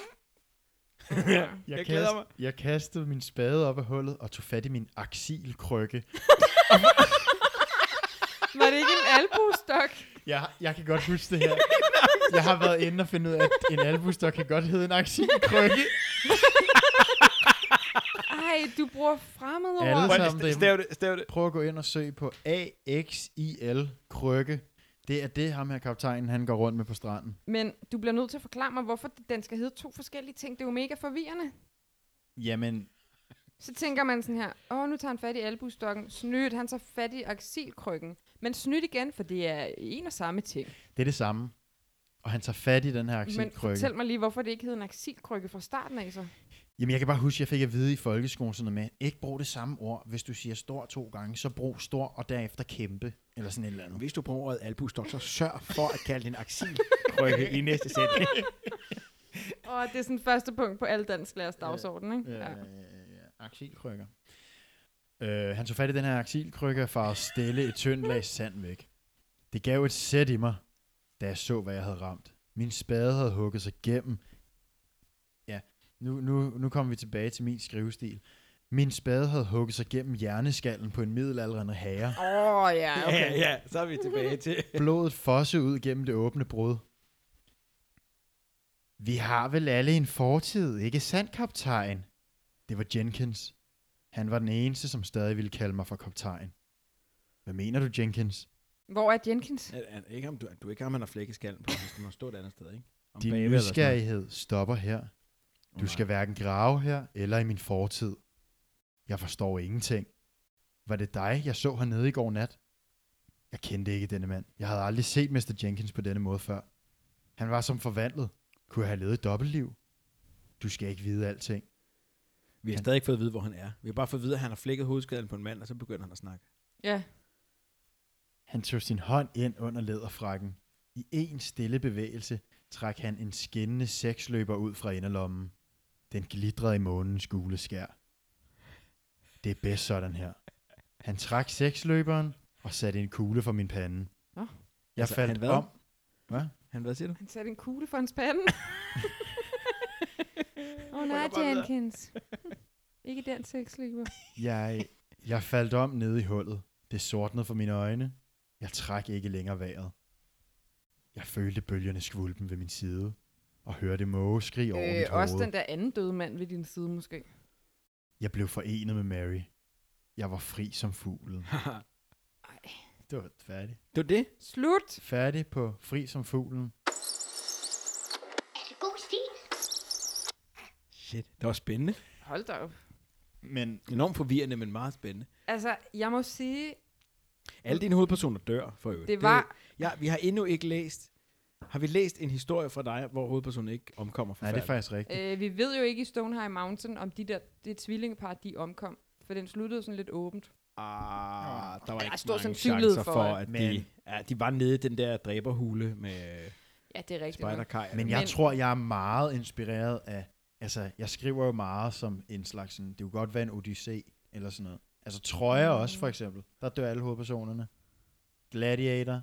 (laughs) Jeg glæder mig. Jeg kastede min spade op af hullet og tog fat i min aksilkrykke. Var det ikke en albuestok? Jeg, jeg kan godt huske det her. (laughs) Jeg har været inde og finde ud af, at en albustok kan godt hedde en aksilkrykke. Ej, du bruger fremmede Alle ord. sammen. Prøv lige, Stav det, stav det. Prøv at gå ind og søg på AXIL krykke. Det er det, ham her kaptajnen, han går rundt med på stranden. Men du bliver nødt til at forklare mig, hvorfor den skal hedde to forskellige ting. Det er jo mega forvirrende. Jamen, Så tænker man sådan her, åh, nu tager han fat i albuestokken. Snydt, han tager fat i aksilkrykken. Men snydt igen, for det er en og samme ting. Det er det samme. Og han tager fat i den her Men aksilkrykke. fortæl mig lige, hvorfor det ikke hed en aksilkrykke fra starten af, så. Jamen, jeg kan bare huske, at jeg fik at vide i folkeskolen sådan noget med, ikke brug det samme ord. Hvis du siger stor to gange, så brug stor og derefter kæmpe. Eller sådan et eller andet. Hvis du bruger ordet albustok, så sørg for at kalde den aksilkrykke (laughs) i næste sætning. Og det er sådan første punkt på alle dansklæres Ja. dagsorden, ikke? Ja, ja, ja, ja. Aksilkrykker. Øh, han tog fat i den her aksilkrykke for at stille et tyndt lag sand væk. Det gav et sæt i mig, da jeg så, hvad jeg havde ramt. Min spade havde hugget sig gennem Nu, nu, nu kommer vi tilbage til min skrivestil. Min spade havde hugget sig gennem hjerneskallen på en middelalderende herre. Åh, oh, ja, okay. Ja, ja, så er vi tilbage til. Blodet fosse ud gennem det åbne brud. Vi har vel alle en fortid, ikke sandt, kaptajn? Det var Jenkins. Han var den eneste, som stadig ville kalde mig for kaptajn. Hvad mener du, Jenkins? Hvor er Jenkins? (laughs) Er, er, ikke ham, du, du er ikke ham, han har flækkeskallen på, hvis du må stå et andet sted, ikke? Om bagved Din eller sådan noget. nysgerrighed stopper her. Du skal hverken grave her eller i min fortid. Jeg forstår ingenting. Var det dig, jeg så hernede i går nat? Jeg kendte ikke denne mand. Jeg havde aldrig set Mr. Jenkins på denne måde før. Han var som forvandlet. Kunne have levet et dobbeltliv? Du skal ikke vide alting. Vi har stadig ikke fået at vide, hvor han er. Vi har bare fået at vide, at han har flækket hovedskallen på en mand, og så begynder han at snakke. Ja. Han tog sin hånd ind under læderfrakken. I en stille bevægelse trak han en skinnende seksløber ud fra inderlommen. Den glitrede i månens gule skær. Det er bedst sådan her. Han trak seksløberen og satte en kugle for min pande. Nå. Jeg Altså, han faldt hvad? om. Hvad? Han, hvad siger du? Han satte en kugle for hans (laughs) pande. Åh oh, nej, Jenkins. Ikke den sexlyber. Jeg, jeg faldt om nede i hullet. Det sortnede for mine øjne. Jeg trak ikke længere vejret. Jeg følte bølgerne skvulpen ved min side og hørte måge skrig over øh, mit Øh, hoved. også den der anden døde mand ved din side, måske. Jeg blev forenet med Mary. Jeg var fri som fuglen. Det var færdigt. det var det. Slut. Færdig på fri som fuglen. Er det god stil? Shit, det var spændende. Hold da op. Men Enormt forvirrende, men meget spændende. Altså, jeg må sige, Alle dine hovedpersoner dør for øvrigt. det var... ja, vi har endnu ikke læst... Har vi læst en historie fra dig, hvor hovedpersonen ikke omkommer for nej, det er faktisk rigtigt. Øh, vi ved jo ikke i Stoneheim Mountain, om de der det tvillingepar, de omkom. For den sluttede sådan lidt åbent. Ah, der var Der er ikke stor mange sandsynlighed chancer for, for, at- at de, ja, de var nede i den der dræberhule med Ja, det er rigtigt. nok. spiderkaj. Men jeg Øh, Men- tror, jeg er meget inspireret af... Altså, jeg skriver jo meget som en slags... Sådan, det kunne godt være en odyssé eller sådan noget. Altså, Troja Mm. også, for eksempel. Der dør alle hovedpersonerne. Gladiator.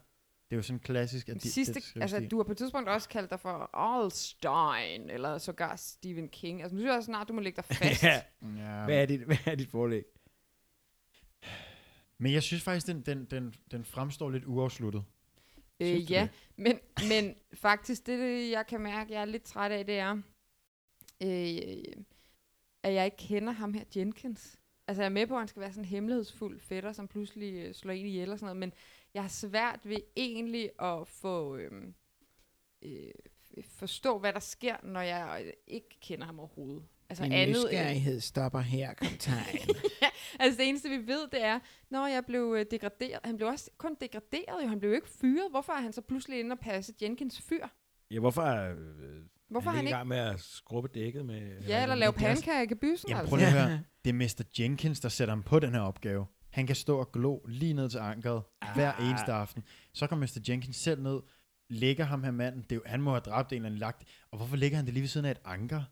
Det er jo sådan klassisk... At Men de, sidste, det skrives altså, de- du har på et tidspunkt også kaldt dig for Allstein, eller sågar Stephen King. Altså, nu synes jeg snart, du må lægge dig fast. ja, (laughs) Ja, hvad er dit, (laughs) hvad er dit forlæg? men jeg synes faktisk, den, den, den, den fremstår lidt uafsluttet. Synes øh, du ja, det? men, men faktisk, det, det jeg kan mærke, jeg er lidt træt af, det er, øh, at jeg ikke kender ham her, Jenkins. Altså, jeg er med på, at han skal være sådan en hemmelighedsfuld fætter, som pludselig øh, slår en ihjel og sådan noget, men jeg har svært ved egentlig at få... Øh, øh, forstå, hvad der sker, når jeg øh, ikke kender ham overhovedet. Altså andet end, stopper her, kaptajn. Altså det eneste, vi ved, det er, når jeg blev øh, degraderet. Han blev også kun degraderet, jo. Han blev jo ikke fyret. Hvorfor er han så pludselig inde og passe Jenkins fyr? (laughs) ja, hvorfor er, øh, Hvorfor er han ikke i ikke... gang med at skrubbe dækket med... Ja, eller lave med glas? pandekager i gebysen, Jamen, altså. prøv lige at høre. Det er Mr. Jenkins, der sætter ham på den her opgave. Han kan stå og glo lige ned til ankeret hver Ah. eneste aften. Så kommer Mr. Jenkins selv ned, lægger ham her manden. Det er jo, han må have dræbt en eller anden lagt. Og hvorfor ligger han det lige ved siden af et anker?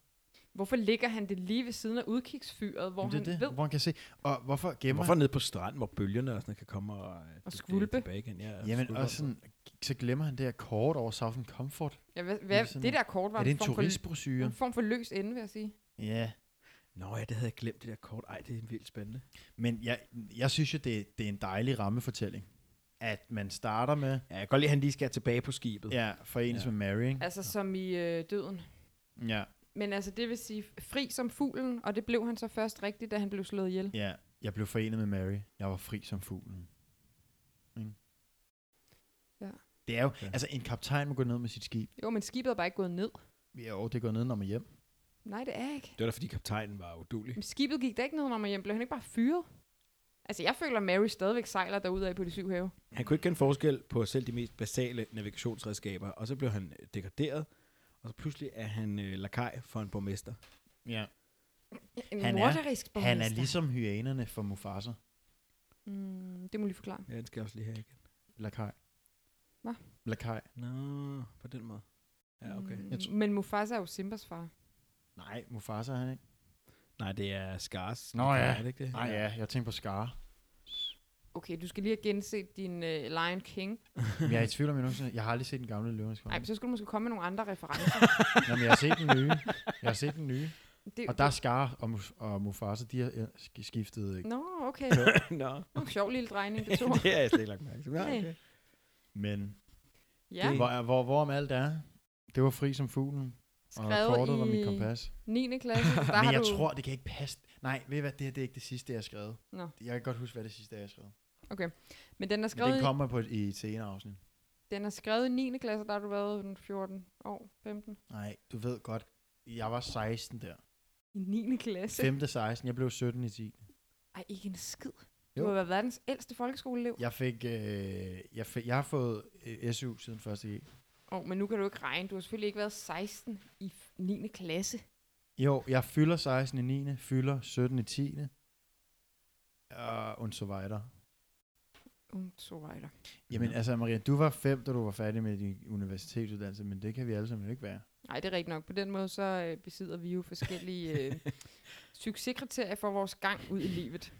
Hvorfor ligger han det lige ved siden af udkigsfyret, hvor Jamen, han det er det, ved... hvor han kan se. Og hvorfor gemmer Hvorfor nede på stranden, hvor bølgerne og sådan noget kan komme og, øh, Og skvulpe. tilbage igen? Ja, han? Jamen, skvulpe og sådan, så glemmer han det her kort over Southern Comfort. Ja, hvad, Lige ved hvad, siden det af. der kort var er det en en form for, turistbrosyre? en form for løs ende, vil jeg sige. Ja, Nå ja, det havde jeg glemt, det der kort. Ej, det er vildt spændende. men jeg, jeg synes jo, det, det er en dejlig rammefortælling. At man starter med, Ja, jeg kan godt lide, at han lige skal tilbage på skibet. ja, forenes ja. Ja. med Mary, ikke? Altså som i øh, døden. Ja, Men altså, det vil sige fri som fuglen, og det blev han så først rigtigt, da han blev slået ihjel. ja, jeg blev forenet med Mary. Jeg var fri som fuglen. Ja. Det er jo, Ja. altså en kaptajn må gå ned med sit skib. Jo, men skibet er bare ikke gået ned. Jo, det går ned, når man er hjem. Nej, det er ikke. Det var da, fordi kaptajnen var udulig. Men skibet gik da ikke ned, når man hjem. Blev han ikke bare fyret? Altså, jeg føler, at Mary stadigvæk sejler derudad på de syv have. Han kunne ikke kende forskel på selv de mest basale navigationsredskaber, og så blev han øh, degraderet, og så pludselig er han øh, lakaj for en borgmester. Ja. En Han er- morderisk Han er borgmester. ligesom hyænerne for Mufasa. Mm, det må du lige forklare. Ja, den skal jeg også lige have igen. Lakai. Hva? Lakai. Nå, på den måde. Ja, okay. Mm. Jeg Mm, men Mufasa er jo Simbas far. Nej, Mufasa er han ikke. Nej, det er Skars. Nå lakaj, ja. Er det ikke det? Nej, ja, jeg tænker på Scar. Okay, du skal lige have genset din uh, Lion King. Men jeg er i tvivl om, jeg nogensinde... Jeg har aldrig set den gamle løvens Nej, konge. (laughs) så skulle du måske komme med nogle andre referencer. Nå, men jeg har set den nye. Jeg har set den nye. Det, Og der er Scar og, Muf- og Mufasa, de har øh, sk- skiftet. øh, Nå, okay. (laughs) Nå, Nå, sjov lille (laughs) drejning, det tog. (laughs) det har jeg slet ikke lagt mærke til. Nå, Nej. okay. Men Ja, hvor, er- hvor, hvorom alt er, det var fri som fuglen, og kortet var mit skrevet i kompas. 9. (laughs) klasse. Der Men har jeg du... tror, det kan ikke passe. Nej, ved I hvad, det her det er ikke det sidste, jeg har skrevet. Nå. Jeg kan godt huske, hvad det sidste er, jeg har skrevet. Men den er Men skrevet, den i- kommer på et, i et senere afsnit. den er skrevet i 9. klasse, der har du været en 14 år, 15. Nej, du ved godt, jeg var 16 der. I 9. klasse? 5. 16, jeg blev 17 i 10. Ej, ikke en skid. Du Jo. har været verdens ældste folkeskoleelev. Jeg fik, øh, jeg, fik jeg har fået øh, SU siden 1. G. Åh, oh, men nu kan du ikke regne. Du har selvfølgelig ikke været 16 i 9. klasse. Jo, jeg fylder 16 i 9., fylder 17 i 10. Og und so weiter. Um, så var jeg der. Jamen Ja. altså Maria, du var 5, da du var færdig med din universitetsuddannelse, men det kan vi alle sammen ikke være. Nej, det er rigtigt nok. På den måde, så øh, besidder vi jo forskellige (laughs) øh, succeskriterier for vores gang ud i livet.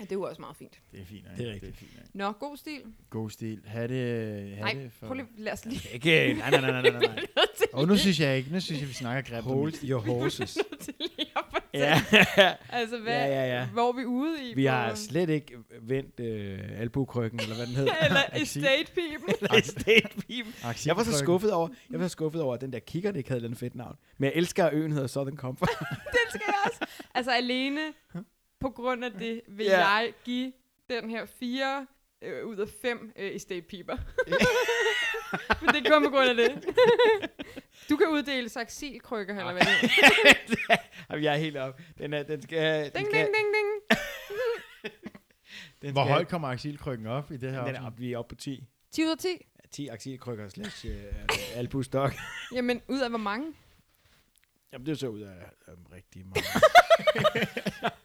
Og det er jo også meget fint. Det er fint, ikke? Det er rigtigt. Det er fint, ikke? Nå, god stil. God stil. Ha' det, ha Nej, det for... Prøv lige, lad os lige... Ikke, (laughs) nej, nej, nej, nej, nej, (laughs) nej. Og nu synes jeg ikke, nu synes jeg, vi snakker grimt. om Hold det. (laughs) your horses. til lige at fortælle. ja, Ja. Altså, hvad, Ja, ja, ja. hvor er vi ude i? vi på- har slet ikke vendt øh, albukryggen, eller hvad den hedder. (laughs) (laughs) Eller Jeg kan sige- estate people. Estate Beam. Axel Jeg var så Bryggen. skuffet over, jeg var så skuffet over, at den der kigger, det ikke havde et eller andet fedt navn. Men jeg elsker, at øen hedder Southern Comfort. (laughs) den skal jeg også. Altså, alene på grund af det, vil Ja. jeg give den her fire øh, ud af fem øh, estate (laughs) piper. Men det er kun på grund af det. du kan uddele saxilkrykker, eller hvad det er. (laughs) Jamen, jeg er helt op. Den, er, den skal... Den Ding, skal, ding, ding, ding. Den Hvor skal- højt kommer aksilkrykken op i det her Den er afsnit? op, vi er oppe på 10. 10 ud af 10. 10 aksilkrykker slash øh, albustok. Jamen, ud af hvor mange? Jamen, det så ud af øh, rigtig (laughs) meget.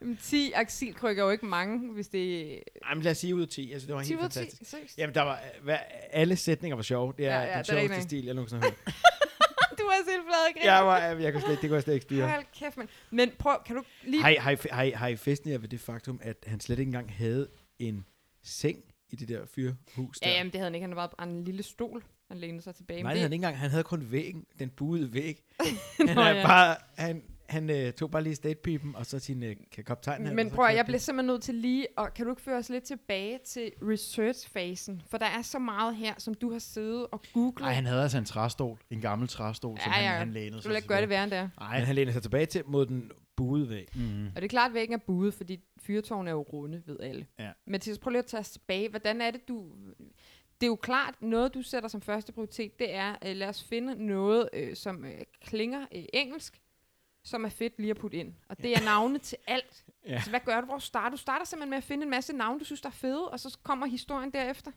Jamen, 10 aksilkrykker er jo ikke mange, hvis det er... Jamen, lad os sige ud af 10. Altså, det var 10 helt ud af 10. fantastisk. Seriøst. Jamen, der var, øh, hva, alle sætninger var sjove. Det er Ja, ja, ja, ja, den det er rigtig sjoveste nok. stil, jeg nogensinde har hørt. (laughs) Du er selv flad ikke? jeg var, jeg, jeg kunne slet, ikke- det kunne jeg slet ikke styre. Hold kæft, man. Men prøv, kan du lige... Har I, har, I, har, I, har I festet jer ved det faktum, at han slet ikke engang havde en seng i det der fyrhus der? Ja, jamen, det havde han ikke. Han var bare en lille stol. Han lænede sig tilbage. Men Nej, det det havde han ikke engang. Han havde kun væggen, den buede væg. (laughs) han, Nå, er ja. bare, han, han øh, tog bare lige statepipen, og så sin øh, k- kop tegn. Men prøv at, jeg bliver simpelthen nødt til lige, og kan du ikke føre os lidt tilbage til research-fasen? For der er så meget her, som du har siddet og googlet. Nej, han havde altså en trærstol. En gammel træstol, som Ja, han, ja. han lænede du vil ikke gøre det værre end det er. Nej, han læner sig tilbage til mod den buede væg. Mm. Og det er klart, at væggen er buet, fordi fyrtårn er jo runde, ved alle. Ja. Mathias, prøv lige at tage os tilbage. Hvordan er det, du... Det er jo klart, noget du sætter som første prioritet, det er, øh, lad os finde noget, øh, som øh, klinger øh, engelsk, som er fedt lige at putte ind. Og det er navne til alt. Ja. Så hvad gør du? Hvor starter du? starter simpelthen med at finde en masse navne, du synes, der er fede, og så kommer historien derefter.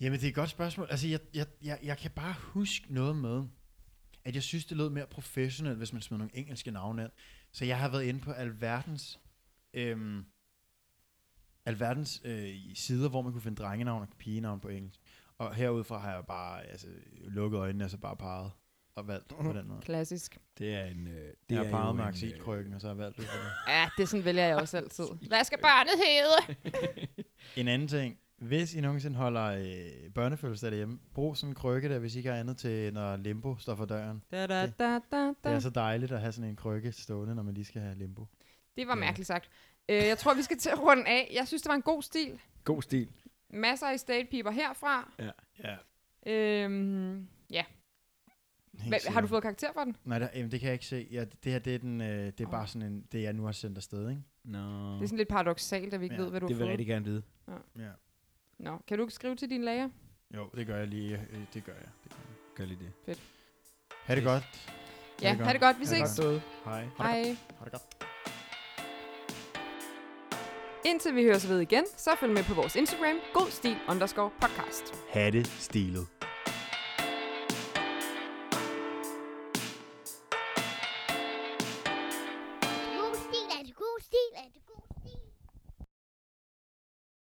Jamen, det er et godt spørgsmål. Altså, jeg, jeg, jeg, jeg kan bare huske noget med, at jeg synes, det lød mere professionelt, hvis man smed nogle engelske navne ind. Så jeg har været inde på alverdens, øhm, alverdens øh, sider, hvor man kunne finde drengenavn og pigenavn på engelsk. Og herudfra har jeg bare altså, lukket øjnene og så bare parret og valgt på den måde. Klassisk. Det er en... Øh, (laughs) det Det jeg har jo parret med en, øh, aksilkrøkken, og så har jeg valgt det. på det. Ja, det er sådan vælger jeg også (laughs) altid. Hvad skal barnet hedde? En anden ting. Hvis I nogensinde holder øh, børnefødselsdag derhjemme, brug sådan en krykke der, hvis I ikke har andet til, når limbo står for døren. Da, da, da, da, Det er da. så dejligt at have sådan en krykke stående, når man lige skal have limbo. Det var Ja. mærkeligt sagt. Øh, jeg tror, vi skal til at runde af. Jeg synes, det var en god stil. God stil. Masser af statepiper herfra. Ja. Øhm, ja. Hva, har du fået karakter for den? Nej, der, jamen, det kan jeg ikke se. Ja, det her, det er, den, øh, det er Åh. bare sådan en, det jeg nu har sendt afsted, ikke? Nå, Det er sådan lidt paradoxalt, at vi ikke Ja, ved, hvad du det har vil jeg fået. rigtig gerne vide. Ja. Nå, kan du ikke skrive til din læger? Jo, det gør jeg lige. Øh, det gør jeg. Det gør jeg. Gør lige det. Ha' det godt. Ja, ha' det godt. Vi Ha' det ses. godt. Hej. Hej. Ha' det godt. Indtil vi høres ved igen, så følg med på vores Instagram, godstil underscore podcast. Hatte stilet.